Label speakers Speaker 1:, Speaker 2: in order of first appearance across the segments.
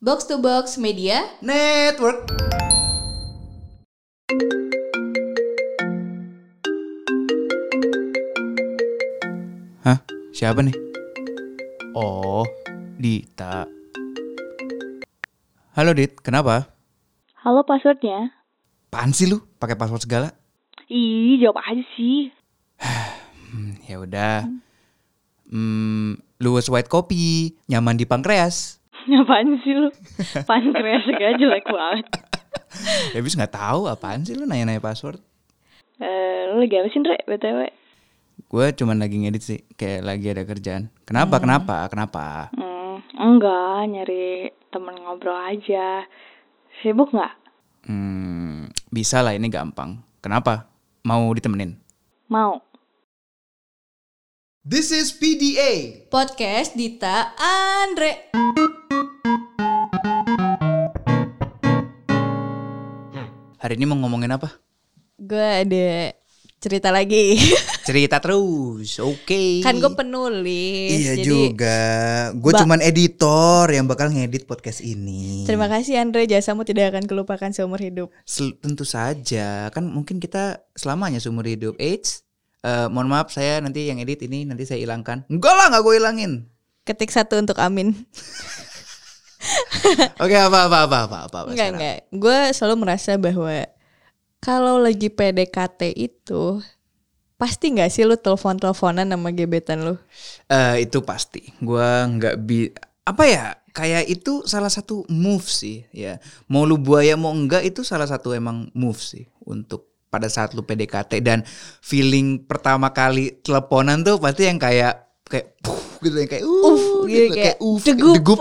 Speaker 1: Box to Box Media
Speaker 2: Network. Hah? Siapa nih? Oh, Dita. Halo Dit, kenapa?
Speaker 3: Halo passwordnya?
Speaker 2: Apaan sih lu? Pakai password segala?
Speaker 3: Ih, jawab aja sih.
Speaker 2: Hmm, ya udah. Hmm, luwes white kopi, nyaman di pankreas.
Speaker 3: Apaan sih lu? Pankreas segala jelek banget.
Speaker 2: Ya abis nggak tahu apaan sih lu nanya-nanya password.
Speaker 3: Eh, lu lagi apa sih, Ndre? BTW.
Speaker 2: Gue cuman lagi ngedit sih, kayak lagi ada kerjaan. Kenapa? Kenapa? Kenapa?
Speaker 3: Hmm, enggak, nyari temen ngobrol aja. Sibuk nggak?
Speaker 2: Hmm, bisa lah ini gampang. Kenapa? Mau ditemenin?
Speaker 3: Mau.
Speaker 2: This is PDA.
Speaker 1: Podcast Dita Andre.
Speaker 2: Hari ini mau ngomongin apa?
Speaker 1: Gue ada cerita lagi.
Speaker 2: Cerita terus, oke.
Speaker 1: kan gue penulis.
Speaker 4: Iya
Speaker 1: jadi
Speaker 4: juga. Gue
Speaker 1: Ba-
Speaker 4: cuman editor yang bakal ngedit podcast ini.
Speaker 1: Terima kasih Andre, jasamu tidak akan kelupakan seumur hidup.
Speaker 2: Sel- tentu saja, kan mungkin kita selamanya seumur hidup. Eits, eh, mohon maaf saya nanti yang edit ini nanti saya hilangkan. Enggak lah, enggak gue hilangin.
Speaker 1: Ketik satu untuk Amin.
Speaker 2: Oke, apa apa apa apa apa. apa
Speaker 1: Enggak
Speaker 2: Oh, sekarang?
Speaker 1: enggak. Gue selalu merasa bahwa kalau lagi PDKT itu pasti nggak sih lu telepon teleponan sama gebetan lu?
Speaker 2: Eh, itu pasti. Gua nggak bi apa ya? Kayak itu salah satu move sih ya. Mau lu buaya mau enggak itu salah satu emang move sih untuk pada saat lu PDKT dan feeling pertama kali teleponan tuh pasti yang kayak kayak puh, gitu yang kayak uh,
Speaker 1: Uff,
Speaker 2: gitu,
Speaker 1: gitu, kayak
Speaker 2: kayak uff
Speaker 1: degup.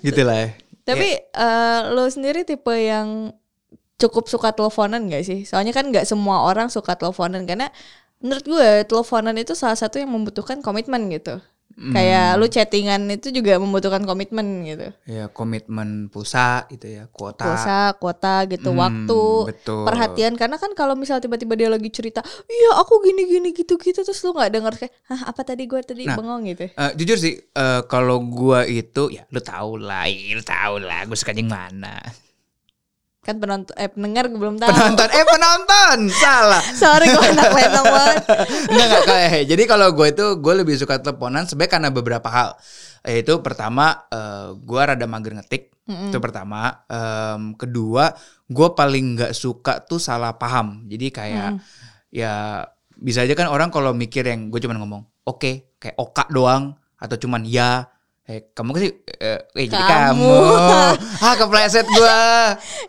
Speaker 2: gitu lah. ya.
Speaker 1: Tapi eh, lu sendiri tipe yang cukup suka teleponan gak sih? Soalnya kan nggak semua orang suka teleponan karena menurut gue teleponan itu salah satu yang membutuhkan komitmen gitu. Kayak
Speaker 2: Hmm.
Speaker 1: lu chattingan itu juga membutuhkan komitmen gitu.
Speaker 2: ya komitmen pulsa gitu ya, kuota.
Speaker 1: Pulsa, kuota gitu,
Speaker 2: Hmm,
Speaker 1: waktu,
Speaker 2: betul.
Speaker 1: perhatian karena kan kalau misal tiba-tiba dia lagi cerita, "Iya, aku gini-gini gitu-gitu" terus lu nggak denger kayak, "Hah, apa tadi gue tadi
Speaker 2: Nah,
Speaker 1: bengong gitu."
Speaker 2: Eh, jujur sih, eh, kalau gua itu ya lu tau lah, ih, lu tau lah, gue suka yang mana.
Speaker 1: Kan penonton eh pendengar belum tahu.
Speaker 2: Penonton, eh penonton, salah.
Speaker 1: Sorry gue anak lenong banget.
Speaker 2: Enggak enggak kayak jadi kalau gue itu gue lebih suka teleponan sebenarnya karena beberapa hal. Yaitu pertama eh, gue rada mager ngetik. Itu pertama, Em, kedua gue paling nggak suka tuh salah paham. Jadi kayak ya bisa aja kan orang kalau mikir yang gue cuman ngomong oke kayak oka doang atau cuman ya Eh, kamu sih eh, eh, jadi
Speaker 1: Kamu.
Speaker 2: kamu ah kepleset gue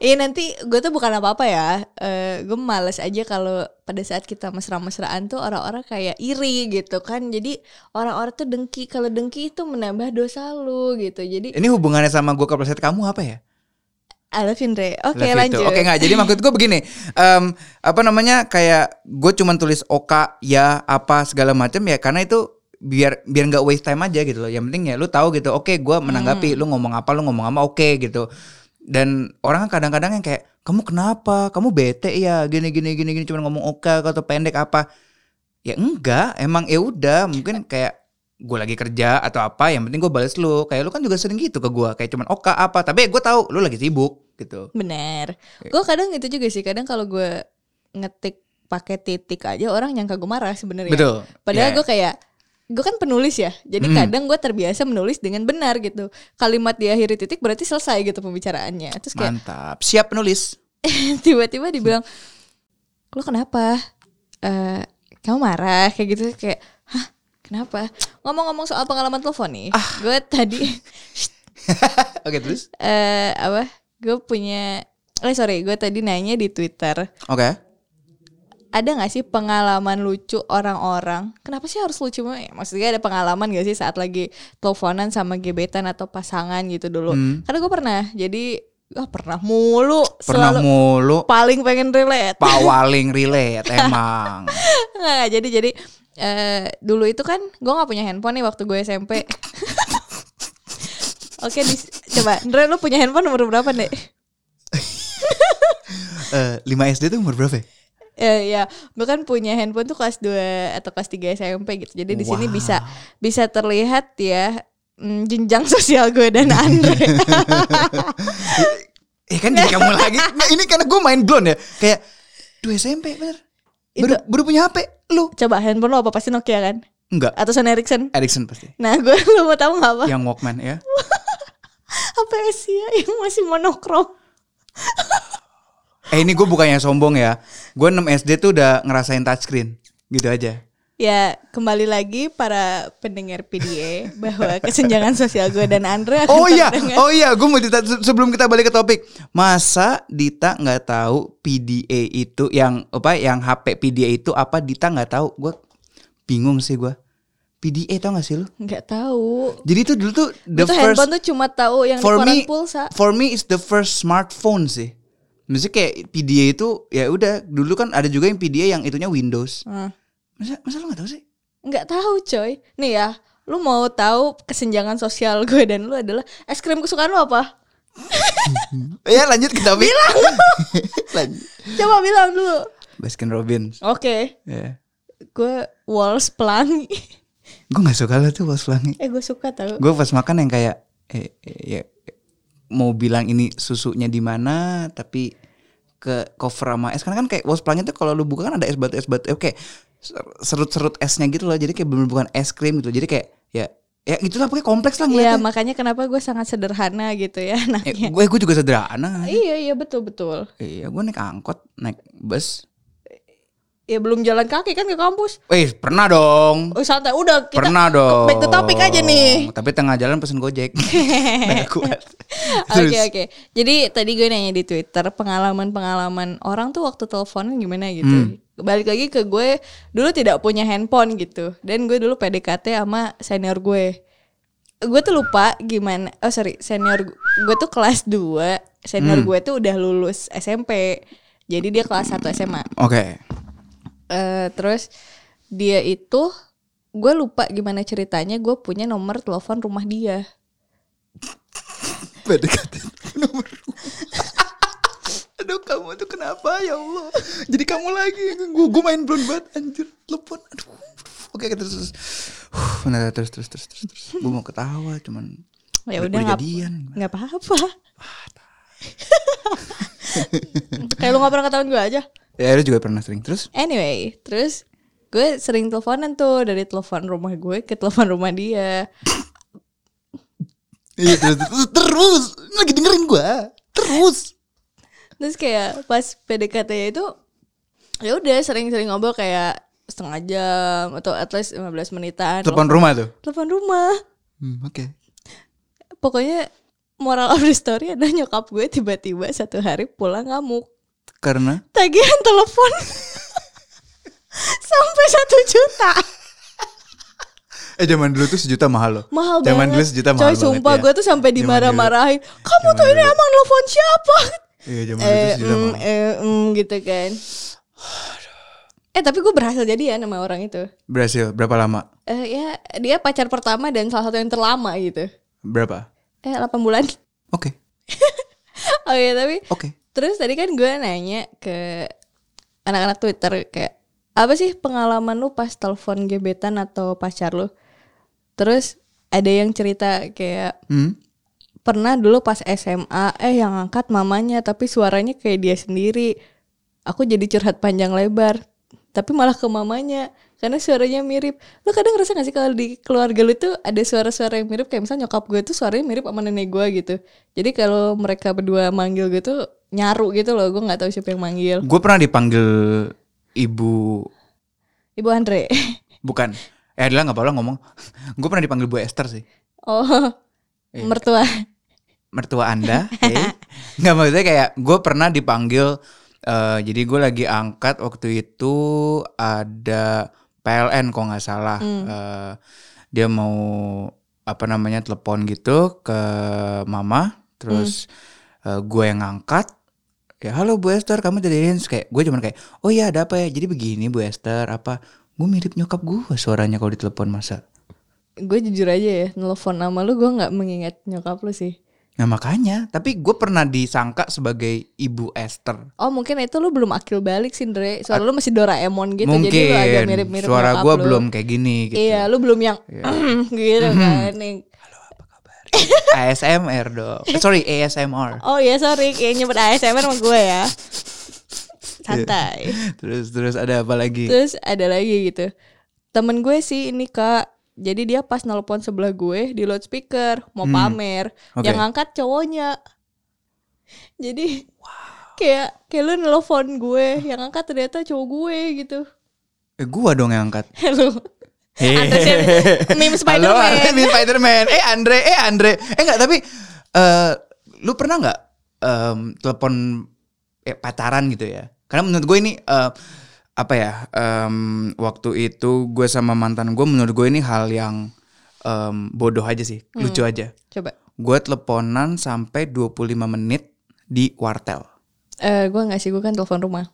Speaker 1: Iya nanti gue tuh bukan apa-apa ya Eh Gue males aja kalau pada saat kita mesra-mesraan tuh orang-orang kayak iri gitu kan Jadi orang-orang tuh dengki Kalau dengki itu menambah dosa lu gitu Jadi
Speaker 2: ini hubungannya sama gue kepleset kamu apa ya
Speaker 1: I love you, Ndre. Oke
Speaker 2: Love you
Speaker 1: lanjut
Speaker 2: too. Oke nggak. Jadi maksud gue begini, em, apa namanya kayak gue cuman tulis oka ya apa segala macam ya karena itu biar biar nggak waste time aja gitu loh. Yang penting ya lu tahu gitu. Oke, gua
Speaker 1: Hmm.
Speaker 2: menanggapi. Lu ngomong apa, lu ngomong apa. Oke gitu. Dan orang kan kadang-kadang yang kayak kamu kenapa? Kamu bete ya? Gini gini gini gini cuman ngomong oka atau pendek apa? Ya enggak, emang ya udah
Speaker 1: Iya.
Speaker 2: mungkin kayak gue lagi kerja atau apa yang penting gue bales lu kayak lu kan juga sering gitu ke gua kayak cuman oka apa tapi gue tahu lu lagi sibuk gitu
Speaker 1: Bener Gue kadang gitu juga sih Kadang kalau gue ngetik pakai titik aja Orang nyangka gue marah sebenarnya
Speaker 2: Betul.
Speaker 1: Padahal
Speaker 2: Ya.
Speaker 1: gue kayak gue kan penulis ya, jadi
Speaker 2: Hmm.
Speaker 1: kadang gue terbiasa menulis dengan benar gitu. Kalimat di akhir titik berarti selesai gitu pembicaraannya. Terus kayak
Speaker 2: mantap. Siap penulis.
Speaker 1: tiba-tiba dibilang lo kenapa Eh kamu marah kayak gitu kayak hah kenapa ngomong-ngomong soal pengalaman telepon nih
Speaker 2: Ah.
Speaker 1: gue tadi
Speaker 2: Oke, terus.
Speaker 1: eh apa gue punya eh sorry gue tadi nanya di twitter
Speaker 2: Oke.
Speaker 1: ada nggak sih pengalaman lucu orang-orang kenapa sih harus lucu Ya, maksudnya ada pengalaman gak sih saat lagi teleponan sama gebetan atau pasangan gitu dulu
Speaker 2: Hmm.
Speaker 1: karena gue pernah jadi wah pernah mulu
Speaker 2: Pernah
Speaker 1: selalu
Speaker 2: mulu
Speaker 1: paling pengen relate
Speaker 2: pawaling relate emang.
Speaker 1: Nggak, nggak, jadi jadi eh, dulu itu kan gue nggak punya handphone nih waktu gue SMP. Oke, di, coba Ndre lu punya handphone nomor berapa nih?
Speaker 2: Eh, 5 SD tuh umur berapa? ya?
Speaker 1: Eh ya, gue kan punya handphone tuh kelas 2 atau kelas 3 SMP gitu. Jadi di sini
Speaker 2: Wow.
Speaker 1: bisa bisa terlihat ya mm, jenjang sosial gue dan Andre.
Speaker 2: Eh kan jadi kamu lagi. Nah, ini karena gue main blon ya. Kayak duh SMP bener. Baru, baru punya HP lu.
Speaker 1: Coba handphone lo apa pasti Nokia kan?
Speaker 2: Enggak.
Speaker 1: Atau Sony Ericsson?
Speaker 2: Ericsson pasti.
Speaker 1: Nah gue lo mau tahu nggak apa?
Speaker 2: Yang Walkman ya.
Speaker 1: Apa Asia yang masih monokrom?
Speaker 2: Eh ini gue bukannya sombong ya. Gue 6 SD tuh udah ngerasain touchscreen. Gitu aja.
Speaker 1: Ya kembali lagi para pendengar PDA bahwa kesenjangan sosial gue dan Andre akan
Speaker 2: Oh iya,
Speaker 1: terdengar.
Speaker 2: oh iya, gue mau cerita se- sebelum kita balik ke topik. Masa Dita nggak tahu PDA itu yang apa? Yang HP PDA itu apa? Dita nggak tahu. Gue bingung sih gue. PDA tau gak sih lu?
Speaker 1: nggak tahu.
Speaker 2: Jadi itu dulu tuh the
Speaker 1: Itu
Speaker 2: first
Speaker 1: handphone tuh cuma tahu yang
Speaker 2: for
Speaker 1: di koran
Speaker 2: me
Speaker 1: pulsa.
Speaker 2: for me is the first smartphone sih. Maksudnya kayak PDA itu ya udah dulu kan ada juga yang PDA yang itunya Windows.
Speaker 1: Hmm.
Speaker 2: Masa masa lu gak tahu sih?
Speaker 1: Nggak tahu coy. Nih ya, lu mau tahu kesenjangan sosial gue dan lu adalah es krim kesukaan lu apa?
Speaker 2: Ya lanjut ke topik. lanjut.
Speaker 1: Coba bilang dulu.
Speaker 2: Baskin Robbins.
Speaker 1: Oke,
Speaker 2: Ya.
Speaker 1: gue walls pelangi.
Speaker 2: Gue gak suka lah tuh Bos Pelangi.
Speaker 1: eh gue suka tau.
Speaker 2: gue pas makan yang kayak eh, eh, ya, mau bilang ini susunya di mana tapi ke cover sama es karena kan kayak was pelangi tuh kalau lu buka kan ada es batu es batu eh, kayak ser- serut-serut esnya gitu loh jadi kayak bener bukan es krim gitu jadi kayak ya ya itulah pokoknya kompleks lah
Speaker 1: Iya
Speaker 2: ngeliatnya
Speaker 1: makanya kenapa gue sangat sederhana gitu ya
Speaker 2: Eh,
Speaker 1: anaknya.
Speaker 2: gue gue juga sederhana
Speaker 1: Iya iya betul betul.
Speaker 2: iya gue naik angkot naik bus
Speaker 1: Ya belum jalan kaki kan ke kampus.
Speaker 2: eh pernah dong
Speaker 1: Oh santai udah kita
Speaker 2: pernah dong
Speaker 1: back to topic aja nih.
Speaker 2: tapi tengah jalan pesen gojek Nggak kuat
Speaker 1: Oke oke. Jadi tadi gue nanya di Twitter pengalaman-pengalaman orang tuh waktu teleponan gimana gitu. Balik lagi ke gue dulu tidak punya handphone gitu. Dan gue dulu PDKT sama senior gue. Gue tuh lupa gimana. Oh sorry, senior gu- gue tuh kelas 2. Senior gue tuh udah lulus SMP. Jadi dia kelas 1 SMA.
Speaker 2: oke
Speaker 1: Eh, terus dia itu gue lupa gimana ceritanya gue punya nomor telepon rumah dia.
Speaker 2: PDKT nomor Aduh kamu tuh kenapa ya Allah Jadi kamu lagi Gue gue main blown banget anjir Telepon Aduh Oke oke, terus terus Huh, bentar, terus terus terus terus, terus. Gue mau ketawa cuman
Speaker 1: Ya
Speaker 2: udah
Speaker 1: udah nggak-
Speaker 2: jadian
Speaker 1: nggak apa-apa. Kayak lu gak pernah ketahuan gue aja.
Speaker 2: Ya lu juga pernah sering Terus
Speaker 1: Anyway, terus gue sering teleponan tuh dari telepon rumah gue ke telepon rumah dia.
Speaker 2: Iya terus terus, terus. Lagi dengerin gue Terus
Speaker 1: Terus kayak pas PDKT itu ya udah sering-sering ngobrol kayak setengah jam atau at least 15 menitan.
Speaker 2: Telepon rumah tuh
Speaker 1: Telepon rumah.
Speaker 2: hmm, Oke
Speaker 1: Pokoknya moral of the story adalah nyokap gue tiba-tiba satu hari pulang ngamuk.
Speaker 2: Karena
Speaker 1: tagihan telepon sampai satu juta
Speaker 2: Eh zaman dulu tuh sejuta mahal loh
Speaker 1: mahal banget
Speaker 2: Zaman dulu sejuta
Speaker 1: coy
Speaker 2: mahal banget
Speaker 1: sumpah
Speaker 2: ya.
Speaker 1: gue tuh sampai
Speaker 2: Zaman dulu.
Speaker 1: dimarah-marahin kamu
Speaker 2: Zaman
Speaker 1: tuh ini
Speaker 2: dulu.
Speaker 1: emang telepon siapa
Speaker 2: Iya zaman dulu
Speaker 1: eh,
Speaker 2: tuh sejuta
Speaker 1: mm,
Speaker 2: mahal
Speaker 1: eh, mm, gitu kan eh tapi gue berhasil jadi ya sama orang itu
Speaker 2: Berhasil berapa lama
Speaker 1: eh ya dia pacar pertama dan salah satu yang terlama gitu
Speaker 2: Berapa
Speaker 1: eh 8 bulan
Speaker 2: Oke
Speaker 1: oh iya tapi
Speaker 2: Oke
Speaker 1: Terus tadi kan gue nanya ke anak-anak Twitter kayak apa sih pengalaman lu pas telepon gebetan atau pacar lu? Terus ada yang cerita kayak
Speaker 2: Hmm?
Speaker 1: pernah dulu pas SMA eh yang angkat mamanya tapi suaranya kayak dia sendiri. Aku jadi curhat panjang lebar tapi malah ke mamanya karena suaranya mirip. Lu kadang ngerasa gak sih kalau di keluarga lu tuh ada suara-suara yang mirip kayak misalnya nyokap gue tuh suaranya mirip sama nenek gue gitu. Jadi kalau mereka berdua manggil gue tuh nyaru gitu loh, gue nggak tahu siapa yang manggil.
Speaker 2: Gue pernah dipanggil ibu
Speaker 1: Ibu Andre.
Speaker 2: bukan eh adalah nggak apa-apa ngomong. Gue pernah dipanggil Bu Esther sih.
Speaker 1: oh.
Speaker 2: Iya.
Speaker 1: Mertua.
Speaker 2: Mertua Anda. eh. Nggak maksudnya kayak gue pernah dipanggil eh, jadi gue lagi angkat waktu itu ada PLN kalau nggak salah. Eh, dia mau apa namanya telepon gitu ke mama terus eh, gue yang angkat ya halo Bu Esther kamu jadi Terus kayak gue cuman kayak oh iya ada apa ya jadi begini Bu Esther apa gue mirip nyokap gue suaranya kalau ditelepon masa
Speaker 1: Gue jujur aja ya, nelfon nama lu gue nggak mengingat nyokap lu sih.
Speaker 2: nah makanya tapi gue pernah disangka sebagai Ibu Esther
Speaker 1: Oh mungkin itu lu belum akil balik sih Dre Suara lu masih Doraemon gitu
Speaker 2: mungkin
Speaker 1: Jadi lu agak mirip-mirip
Speaker 2: suara
Speaker 1: nyokap Iya,
Speaker 2: gue
Speaker 1: lu.
Speaker 2: belum kayak gini gitu
Speaker 1: Iya lu belum yang gitu kan yang-
Speaker 2: ASMR dong. Eh, Sorry, ASMR.
Speaker 1: Oh ya sorry, kayak nyebut ASMR sama gue ya.
Speaker 2: Iya.
Speaker 1: Santai.
Speaker 2: Terus terus ada apa lagi?
Speaker 1: Terus ada lagi gitu. Temen gue sih ini kak. Jadi dia pas nelpon sebelah gue di loudspeaker mau
Speaker 2: Hmm.
Speaker 1: pamer,
Speaker 2: Oke.
Speaker 1: yang ngangkat cowoknya. Jadi kayak kayak lu nelpon gue, yang ngangkat ternyata cowok gue gitu.
Speaker 2: Eh, gua dong yang angkat.
Speaker 1: Halo. Atas
Speaker 2: Hehehe.
Speaker 1: yang meme
Speaker 2: Halo,
Speaker 1: Spider-Man.
Speaker 2: Andre Spider-Man. Eh Andre, eh Andre. Eh enggak tapi eh lu pernah nggak em, telepon eh, pacaran gitu ya? Karena menurut gue ini eh, apa ya? em, waktu itu gue sama mantan gue menurut gue ini hal yang em, bodoh aja sih, lucu
Speaker 1: Hmm.
Speaker 2: aja.
Speaker 1: Coba.
Speaker 2: Gue teleponan sampai 25 menit di wartel.
Speaker 1: Eh gue nggak sih, gue kan telepon rumah.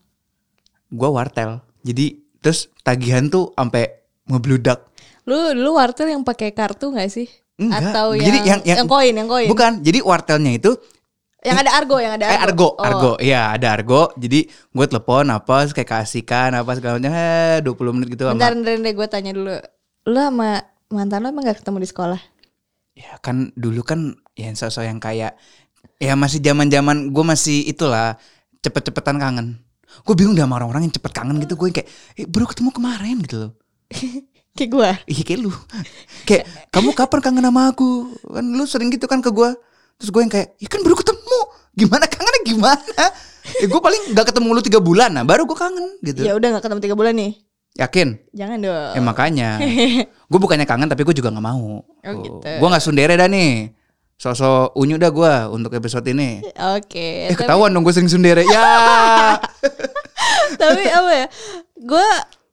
Speaker 2: Gue wartel. Jadi terus tagihan tuh sampai ngebludak.
Speaker 1: Lu lu wartel yang pakai kartu nggak sih?
Speaker 2: Enggak.
Speaker 1: Atau
Speaker 2: Jadi
Speaker 1: yang,
Speaker 2: yang- yang-
Speaker 1: koin, yang koin.
Speaker 2: Bukan, jadi wartelnya itu
Speaker 1: Yang ada argo, yang ada
Speaker 2: Eh argo,
Speaker 1: Oh.
Speaker 2: argo, iya ada argo. Jadi gue telepon apa, terus kayak kasihkan apa segala macam. Eh, 20 menit gitu
Speaker 1: Bentar,
Speaker 2: sama.
Speaker 1: bentar, bentar, gue tanya dulu. Lu sama mantan lu emang gak ketemu di sekolah?
Speaker 2: Ya kan dulu kan ya sosok yang kayak ya masih zaman zaman gue masih itulah cepet-cepetan kangen. Gue bingung dah sama orang-orang yang cepet kangen gitu. Gue kayak eh, baru ketemu kemarin gitu loh.
Speaker 1: Kayak gue.
Speaker 2: Iya kayak lu. Kayak kamu kapan kangen sama aku? Kan lu sering gitu kan ke gue. Terus gue yang kayak, ya kan baru ketemu. Gimana kangennya gimana? Eh, gue paling gak ketemu lu tiga bulan, nah baru gue kangen gitu.
Speaker 1: Ya udah gak ketemu tiga bulan nih.
Speaker 2: Yakin?
Speaker 1: Jangan dong.
Speaker 2: Ya makanya Gue bukannya kangen tapi gue juga gak mau
Speaker 1: Oh, gitu.
Speaker 2: Gue gak sundere dah nih Sosok unyu dah gue untuk episode ini
Speaker 1: Oke.
Speaker 2: Eh
Speaker 1: tapi-
Speaker 2: ketahuan dong gue sering sundere Ya
Speaker 1: tapi apa ya gue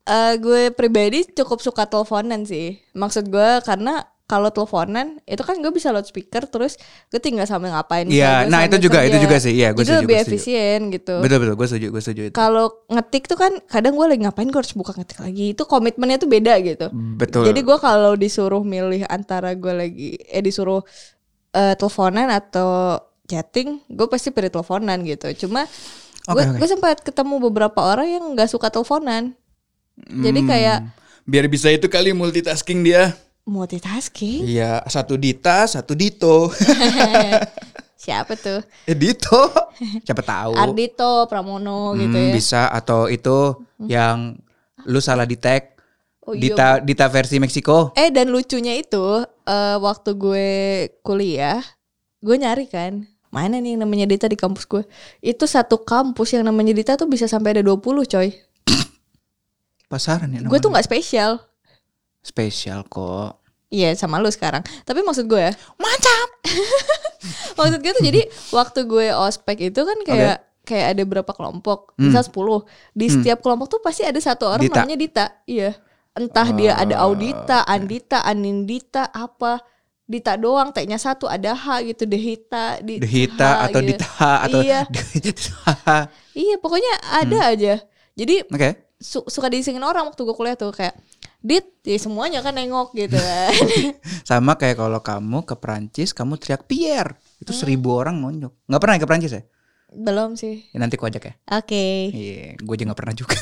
Speaker 1: eh, gue pribadi cukup suka teleponan sih maksud gue karena kalau teleponan itu kan gue bisa loudspeaker terus gue tinggal sambil ngapain Misalnya gua
Speaker 2: Iya, nah, itu
Speaker 1: sambil
Speaker 2: juga- itu juga sih. Iya, gua
Speaker 1: Jadi
Speaker 2: setuju,
Speaker 1: lebih
Speaker 2: gua setuju.
Speaker 1: efisien gitu
Speaker 2: Betul-betul gue setuju Gue setuju itu
Speaker 1: kalau ngetik tuh kan kadang gue lagi ngapain gue harus buka ngetik lagi itu komitmennya tuh beda gitu
Speaker 2: Betul
Speaker 1: jadi gue kalau disuruh milih antara gue lagi eh disuruh eh, teleponan atau chatting, gue pasti pilih teleponan gitu. Cuma gue
Speaker 2: Oke, oke.
Speaker 1: gue sempat ketemu beberapa orang yang nggak suka teleponan. Jadi
Speaker 2: Hmm.
Speaker 1: kayak
Speaker 2: Biar bisa itu kali multitasking dia
Speaker 1: multitasking.
Speaker 2: Iya satu Dita satu Dito
Speaker 1: Siapa tuh?
Speaker 2: Eh Dito Siapa tahu
Speaker 1: Ardito Pramono gitu
Speaker 2: Oh. Hmm,
Speaker 1: ya. Hmm.
Speaker 2: Bisa atau itu yang lu salah di tag
Speaker 1: Oh, iya,
Speaker 2: Dita, Dita versi Meksiko
Speaker 1: Eh dan lucunya itu eh, waktu gue kuliah, gue nyari kan mana nih yang namanya Dita di kampus gue. Itu satu kampus yang namanya Dita tuh bisa sampai ada 20 coy.
Speaker 2: Pasaran ya
Speaker 1: Gue tuh
Speaker 2: namanya.
Speaker 1: nggak spesial.
Speaker 2: Spesial kok
Speaker 1: Iya sama lu sekarang. Tapi maksud gue ya. Mantap. maksud gue tuh jadi waktu gue ospek itu kan kayak kayak ada berapa kelompok,
Speaker 2: Hmm.
Speaker 1: misal 10. Di
Speaker 2: Hmm.
Speaker 1: setiap kelompok tuh pasti ada satu orang
Speaker 2: Dita.
Speaker 1: namanya Dita. Iya. Entah dia ada
Speaker 2: Oh,
Speaker 1: Audita, Andita, Anindita, apa Dita doang, T-nya satu, ada H gitu, Dehita, di
Speaker 2: Dehita
Speaker 1: H
Speaker 2: atau
Speaker 1: gitu.
Speaker 2: Dita atau
Speaker 1: Iya.
Speaker 2: Dita.
Speaker 1: Iya, pokoknya ada
Speaker 2: Hmm.
Speaker 1: aja. Jadi
Speaker 2: Oke.
Speaker 1: su- suka diisengin orang waktu gue kuliah tuh kayak Dit, ya semuanya kan nengok gitu kan.
Speaker 2: Sama kayak kalau kamu ke Prancis, kamu teriak Pierre.
Speaker 1: Hmm.
Speaker 2: Itu seribu orang nonyok. Nggak pernah ya ke Prancis ya?
Speaker 1: Belum sih.
Speaker 2: ya nanti ku ajak ya.
Speaker 1: Oke.
Speaker 2: Iya, gue juga nggak pernah juga.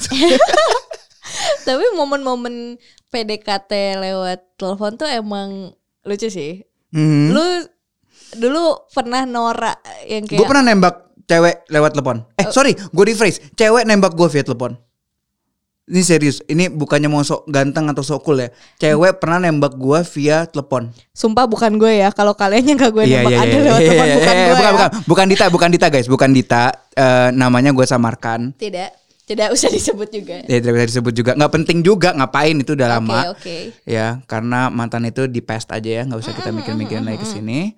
Speaker 1: Tapi momen-momen PDKT lewat telepon tuh emang lucu sih.
Speaker 2: hmm.
Speaker 1: Lu dulu pernah Nora yang kayak
Speaker 2: Gue pernah nembak cewek lewat telepon. Eh,
Speaker 1: Oh.
Speaker 2: sorry, gue rephrase. Cewek nembak gue via telepon. Ini serius, ini bukannya mau sok ganteng atau sok cool ya. Cewek pernah nembak gue via telepon.
Speaker 1: sumpah bukan gue ya kalau kalian yang gak gue nembak ada lewat
Speaker 2: iya,
Speaker 1: telepon
Speaker 2: iya,
Speaker 1: bukan
Speaker 2: iya,
Speaker 1: gue. ya.
Speaker 2: bukan, bukan, bukan Dita, bukan Dita guys, bukan Dita. Eh, namanya gue samarkan.
Speaker 1: Tidak, tidak usah disebut juga. Oke,
Speaker 2: Ya tidak bisa disebut juga. Nggak penting juga ngapain itu udah lama.
Speaker 1: oke.
Speaker 2: Ya, karena mantan itu di past aja ya, nggak usah kita mikir-mikirin lagi ke sini.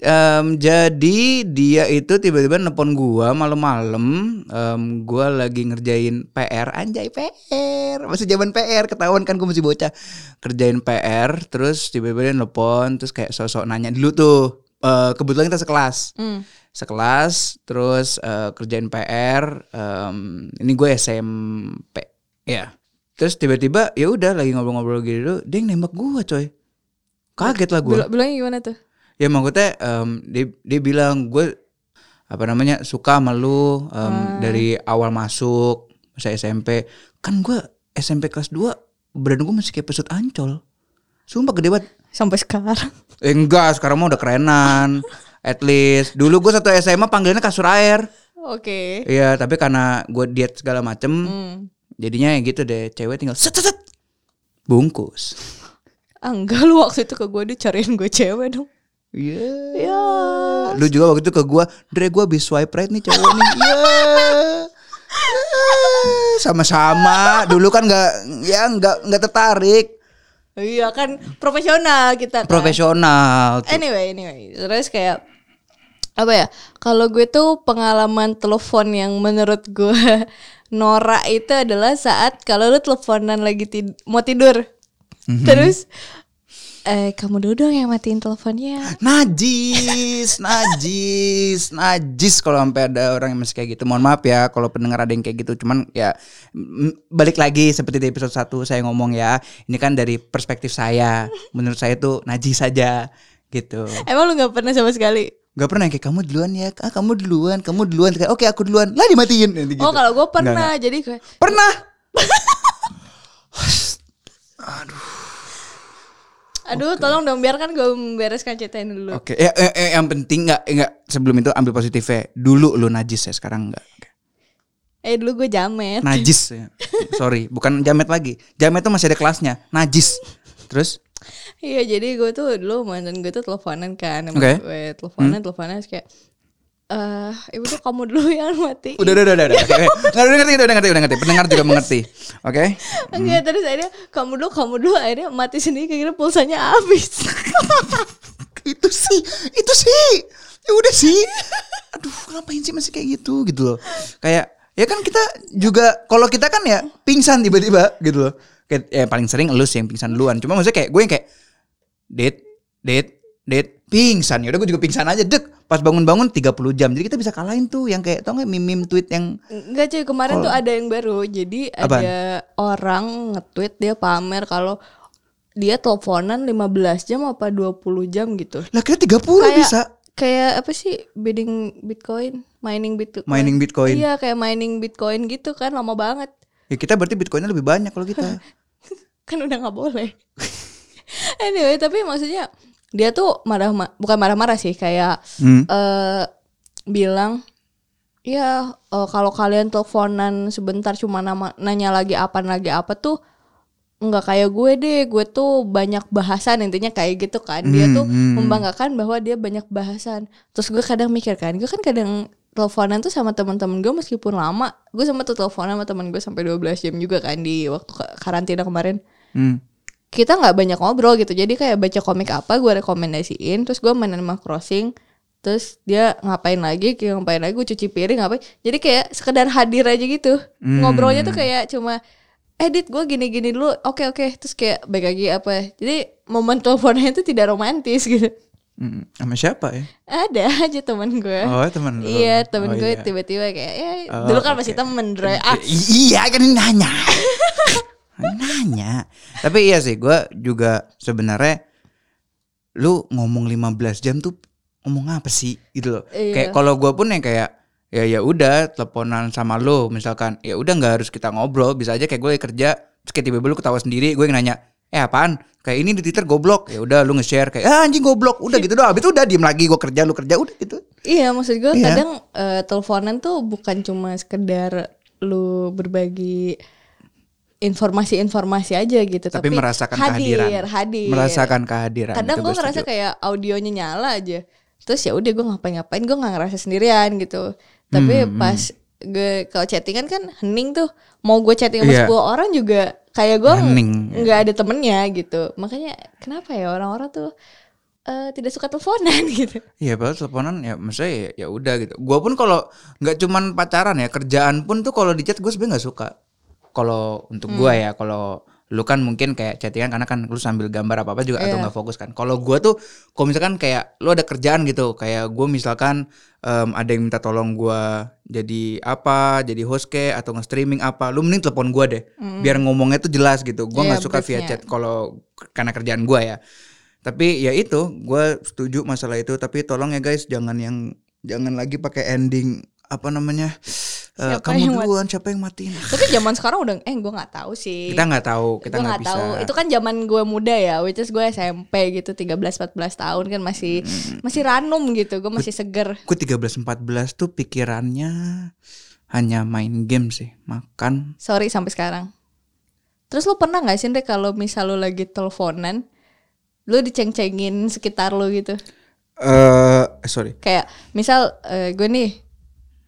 Speaker 2: Em, jadi dia itu tiba-tiba nelpon gua malam-malam. Em, gua lagi ngerjain PR, anjay PR. Masih zaman PR, ketahuan kan gua masih bocah. Kerjain PR, terus tiba-tiba dia nelpon, terus kayak sosok nanya dulu tuh. Eh, kebetulan kita sekelas
Speaker 1: Hmm.
Speaker 2: sekelas terus eh, kerjain PR em, ini gue SMP ya terus tiba-tiba ya udah lagi ngobrol-ngobrol gitu dia yang nembak gue coy kaget lah gue
Speaker 1: Bil- bilangnya gimana tuh?
Speaker 2: ya maksudnya em, dia dia bilang gue apa namanya suka sama lu em, dari awal masuk masa SMP kan gue SMP kelas 2 badan gue masih kayak pesut ancol sumpah gede banget
Speaker 1: sampai sekarang.
Speaker 2: Eh, enggak, sekarang mah udah kerenan. At least dulu gue satu SMA panggilannya kasur air.
Speaker 1: Oke.
Speaker 2: Iya, tapi karena gue diet segala macem,
Speaker 1: Hmm.
Speaker 2: jadinya ya gitu deh. Cewek tinggal set set, set. bungkus.
Speaker 1: Ah, enggak lu waktu itu ke gue dicariin gue cewek dong.
Speaker 2: Iya.
Speaker 1: Ya.
Speaker 2: Lu juga waktu itu ke gue, Dre gue habis swipe right nih cewek nih. Iya. Ah, Sama-sama. Dulu kan nggak, ya nggak nggak tertarik.
Speaker 1: Iya kan profesional kita. Kan?
Speaker 2: Profesional. tuh.
Speaker 1: Anyway, anyway, terus kayak apa ya? Kalau gue tuh pengalaman telepon yang menurut gue norak itu adalah saat kalau lu teleponan lagi tid- mau tidur,
Speaker 2: Mhm.
Speaker 1: terus eh kamu dulu dong yang matiin teleponnya.
Speaker 2: Najis, najis, najis kalau sampai ada orang yang masih kayak gitu. Mohon maaf ya kalau pendengar ada yang kayak gitu. Cuman ya mm, balik lagi seperti di episode 1 saya ngomong ya. Ini kan dari perspektif saya. Menurut saya tuh najis saja gitu.
Speaker 1: Emang lu nggak pernah sama sekali?
Speaker 2: Gak pernah yang kayak kamu duluan ya. Ah, kamu duluan, kamu duluan. Kayak, Oke, aku duluan. Lah dimatiin Nanti gitu.
Speaker 1: Oh kalau gue
Speaker 2: Nggak,
Speaker 1: pernah, jadi gue
Speaker 2: nggak. Pernah.
Speaker 1: Aduh, tolong dong biarkan gue membereskan ceritain dulu.
Speaker 2: Oke, ya, eh, eh, yang penting nggak nggak sebelum itu ambil positifnya. Dulu lu najis ya, sekarang enggak.
Speaker 1: Eh dulu gue jamet.
Speaker 2: najis ya. sorry bukan jamet lagi jamet tuh masih ada kelasnya najis terus
Speaker 1: Iya jadi gue tuh dulu mantan gue tuh teleponan kan sama
Speaker 2: Oke. Hmm.
Speaker 1: gue teleponan teleponan terus kayak eh ibu tuh kamu dulu yang mati
Speaker 2: udah udah udah udah udah Oke, oke. Nggak, udah ngerti udah ngerti udah ngerti pendengar juga mengerti oke
Speaker 1: enggak terus akhirnya kamu dulu kamu dulu akhirnya mati sendiri kira pulsanya habis
Speaker 2: itu sih itu sih ya udah sih aduh ngapain sih masih kayak gitu gitu loh kayak ya kan kita juga kalau kita kan ya pingsan tiba-tiba gitu loh kayak ya paling sering lu sih yang pingsan duluan cuma maksudnya kayak gue yang kayak dit dit dit pingsan ya udah gue juga pingsan aja dek pas bangun-bangun 30 jam jadi kita bisa kalahin tuh yang kayak tau nggak mimim tweet yang
Speaker 1: enggak cuy kemarin
Speaker 2: Oh.
Speaker 1: tuh ada yang baru jadi ada orang nge-tweet dia pamer kalau dia teleponan 15 jam apa 20 jam gitu
Speaker 2: lah kita 30 bisa
Speaker 1: kayak apa sih bidding bitcoin mining bitcoin
Speaker 2: Mining Bitcoin.
Speaker 1: iya kayak mining bitcoin gitu kan lama banget
Speaker 2: ya kita berarti bitcoinnya lebih banyak kalau kita
Speaker 1: kan udah nggak boleh anyway tapi maksudnya dia tuh marah ma- bukan marah-marah sih kayak
Speaker 2: Hmm.
Speaker 1: eh, bilang ya eh, kalau kalian teleponan sebentar cuma nama- nanya lagi apa lagi apa tuh nggak kayak gue deh gue tuh banyak bahasan intinya kayak gitu kan dia tuh membanggakan bahwa dia banyak bahasan terus gue kadang mikir kan gue kan kadang teleponan tuh sama teman-teman gue meskipun lama gue sama tuh teleponan sama teman gue sampai 12 jam juga kan di waktu ka- karantina kemarin
Speaker 2: hmm.
Speaker 1: kita nggak banyak ngobrol gitu jadi kayak baca komik apa gue rekomendasiin terus gue main Animal Crossing terus dia ngapain lagi kayak ngapain lagi gue cuci piring ngapain jadi kayak sekedar hadir aja gitu
Speaker 2: Hmm.
Speaker 1: ngobrolnya tuh kayak cuma "Eh, edit gue gini gini dulu oke oke terus kayak baik lagi apa jadi momen teleponnya itu tidak romantis gitu
Speaker 2: Hmm. sama siapa ya
Speaker 1: ada aja teman gue
Speaker 2: oh teman lu
Speaker 1: Eh? Iya temen
Speaker 2: Oh,
Speaker 1: gue
Speaker 2: iya.
Speaker 1: tiba-tiba kayak ya,
Speaker 2: Oh,
Speaker 1: dulu kan
Speaker 2: oke.
Speaker 1: masih temen Dre ah,
Speaker 2: I- iya kan ini nanya. nanya. Tapi iya sih gue juga sebenarnya lu ngomong 15 jam tuh ngomong apa sih gitu loh.
Speaker 1: Iya.
Speaker 2: Kayak kalau gue pun yang kayak ya ya udah teleponan sama lu misalkan ya udah nggak harus kita ngobrol bisa aja kayak gue lagi kerja terus kayak tiba-tiba lu ketawa sendiri gue yang nanya eh apaan kayak ini di Twitter goblok ya udah lu nge-share kayak ah, anjing goblok udah gitu doang habis itu udah diem lagi gue kerja lu kerja udah gitu
Speaker 1: Iya maksud gue
Speaker 2: Iya.
Speaker 1: kadang eh, teleponan tuh bukan cuma sekedar lu berbagi informasi-informasi aja gitu tapi,
Speaker 2: tapi, merasakan
Speaker 1: hadir,
Speaker 2: kehadiran
Speaker 1: hadir.
Speaker 2: merasakan kehadiran
Speaker 1: kadang
Speaker 2: Itu
Speaker 1: gue
Speaker 2: gua
Speaker 1: ngerasa
Speaker 2: setuju.
Speaker 1: kayak audionya nyala aja terus ya udah gue ngapain-ngapain gue nggak ngerasa sendirian gitu
Speaker 2: Hmm,
Speaker 1: tapi pas gue kalau chattingan kan hening tuh mau gue chatting sama
Speaker 2: Iya.
Speaker 1: 10 orang juga kayak gue
Speaker 2: Hening.
Speaker 1: nggak ada temennya gitu makanya kenapa ya orang-orang tuh eh, tidak suka teleponan gitu
Speaker 2: Iya padahal teleponan ya maksudnya ya, ya udah gitu. Gua pun kalau nggak cuman pacaran ya kerjaan pun tuh kalau di chat gue sebenarnya nggak suka. Kalau untuk gua
Speaker 1: Hmm.
Speaker 2: ya kalau lu kan mungkin kayak chattingan karena kan lu sambil gambar apa apa juga atau
Speaker 1: Iya.
Speaker 2: nggak fokus kan. Kalau gua tuh kalau misalkan kayak lu ada kerjaan gitu kayak gue misalkan em, ada yang minta tolong gua jadi apa jadi host ke atau nge streaming apa lu mending telepon gua deh biar ngomongnya tuh jelas gitu. Gua
Speaker 1: Hmm. Iya,
Speaker 2: nggak suka via
Speaker 1: briefnya.
Speaker 2: chat kalau karena kerjaan gua ya. Tapi ya itu, gue setuju masalah itu. Tapi tolong ya guys, jangan yang jangan lagi pakai ending apa namanya eh,
Speaker 1: Siapa yang
Speaker 2: kamu
Speaker 1: mati?
Speaker 2: duluan siapa yang matiin
Speaker 1: Tapi zaman sekarang udah eh gue nggak tahu sih.
Speaker 2: kita nggak tahu kita
Speaker 1: Gua
Speaker 2: nggak bisa
Speaker 1: tahu. Itu kan zaman gue muda ya, which is gue SMP gitu 13 14 tahun kan masih
Speaker 2: Hmm.
Speaker 1: masih ranum gitu. Gue masih seger.
Speaker 2: Gue 13 14 tuh pikirannya hanya main game sih, makan.
Speaker 1: Sorry sampai sekarang. Terus lu pernah nggak sih Ndre kalau misal lu lagi teleponan lu diceng-cengin sekitar lu gitu?
Speaker 2: Eh, sorry.
Speaker 1: Kayak misal eh, gue nih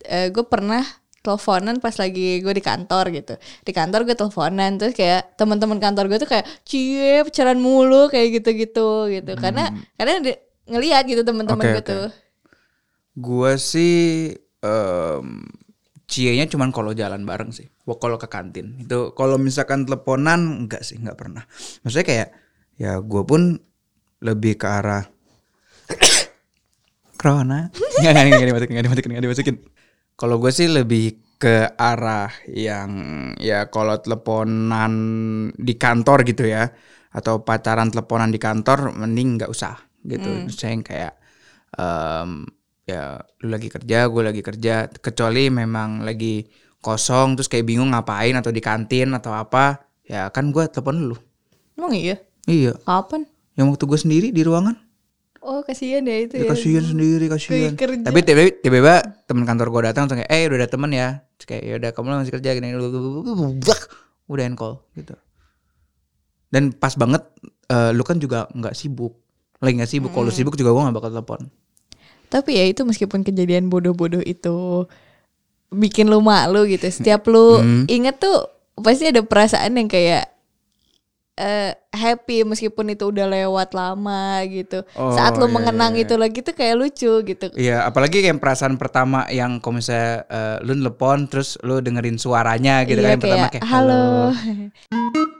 Speaker 1: eh, gue pernah teleponan pas lagi gue di kantor gitu di kantor gue teleponan terus kayak teman-teman kantor gue tuh kayak cie pacaran mulu kayak gitu-gitu gitu karena karena di- ngelihat gitu teman-teman
Speaker 2: Hmm. Oke,
Speaker 1: gue
Speaker 2: oke.
Speaker 1: tuh
Speaker 2: Gua sih em cienya cuman kalau jalan bareng sih. Wah, Kalau ke kantin. Itu kalau misalkan teleponan enggak sih, enggak pernah. Maksudnya kayak ya gua pun lebih ke arah Corona. Enggak enggak enggak dimasukin, enggak dimasukin, enggak dimasukin. Kalau gue sih lebih ke arah yang ya kalau teleponan di kantor gitu ya atau pacaran teleponan di kantor mending nggak usah gitu. Saya yang kayak em, ya lu lagi kerja, gue lagi kerja kecuali memang lagi kosong terus kayak bingung ngapain atau di kantin atau apa ya kan gue telepon lu.
Speaker 1: emang iya
Speaker 2: Iya,
Speaker 1: kapan
Speaker 2: yang waktu gue sendiri di ruangan
Speaker 1: oh kasihan ya itu ya
Speaker 2: Ya, kasihan sendiri kasihan.
Speaker 1: Kayak kerja.
Speaker 2: Tapi tiba-tiba, tiba-tiba teman kantor gue datang langsung kayak, eh udah ada teman ya. Terus kayak ya udah kamu masih kerja gini, udah end call gitu. Dan pas banget, eh, lu kan juga nggak sibuk, lagi nggak sibuk.
Speaker 1: Hmm.
Speaker 2: Kalau lu sibuk juga gue nggak bakal telepon.
Speaker 1: Tapi ya itu meskipun kejadian bodoh-bodoh itu bikin lu malu gitu. Setiap lu
Speaker 2: Hmm.
Speaker 1: inget tuh pasti ada perasaan yang kayak eh happy meskipun itu udah lewat lama gitu.
Speaker 2: Oh,
Speaker 1: Saat lu
Speaker 2: iya,
Speaker 1: mengenang
Speaker 2: iya,
Speaker 1: itu lagi tuh kayak lucu gitu.
Speaker 2: Iya, apalagi kayak perasaan pertama yang kalau misalnya eh, lu telepon terus lu dengerin suaranya gitu
Speaker 1: Iya,
Speaker 2: kan yang pertama kayak
Speaker 1: halo.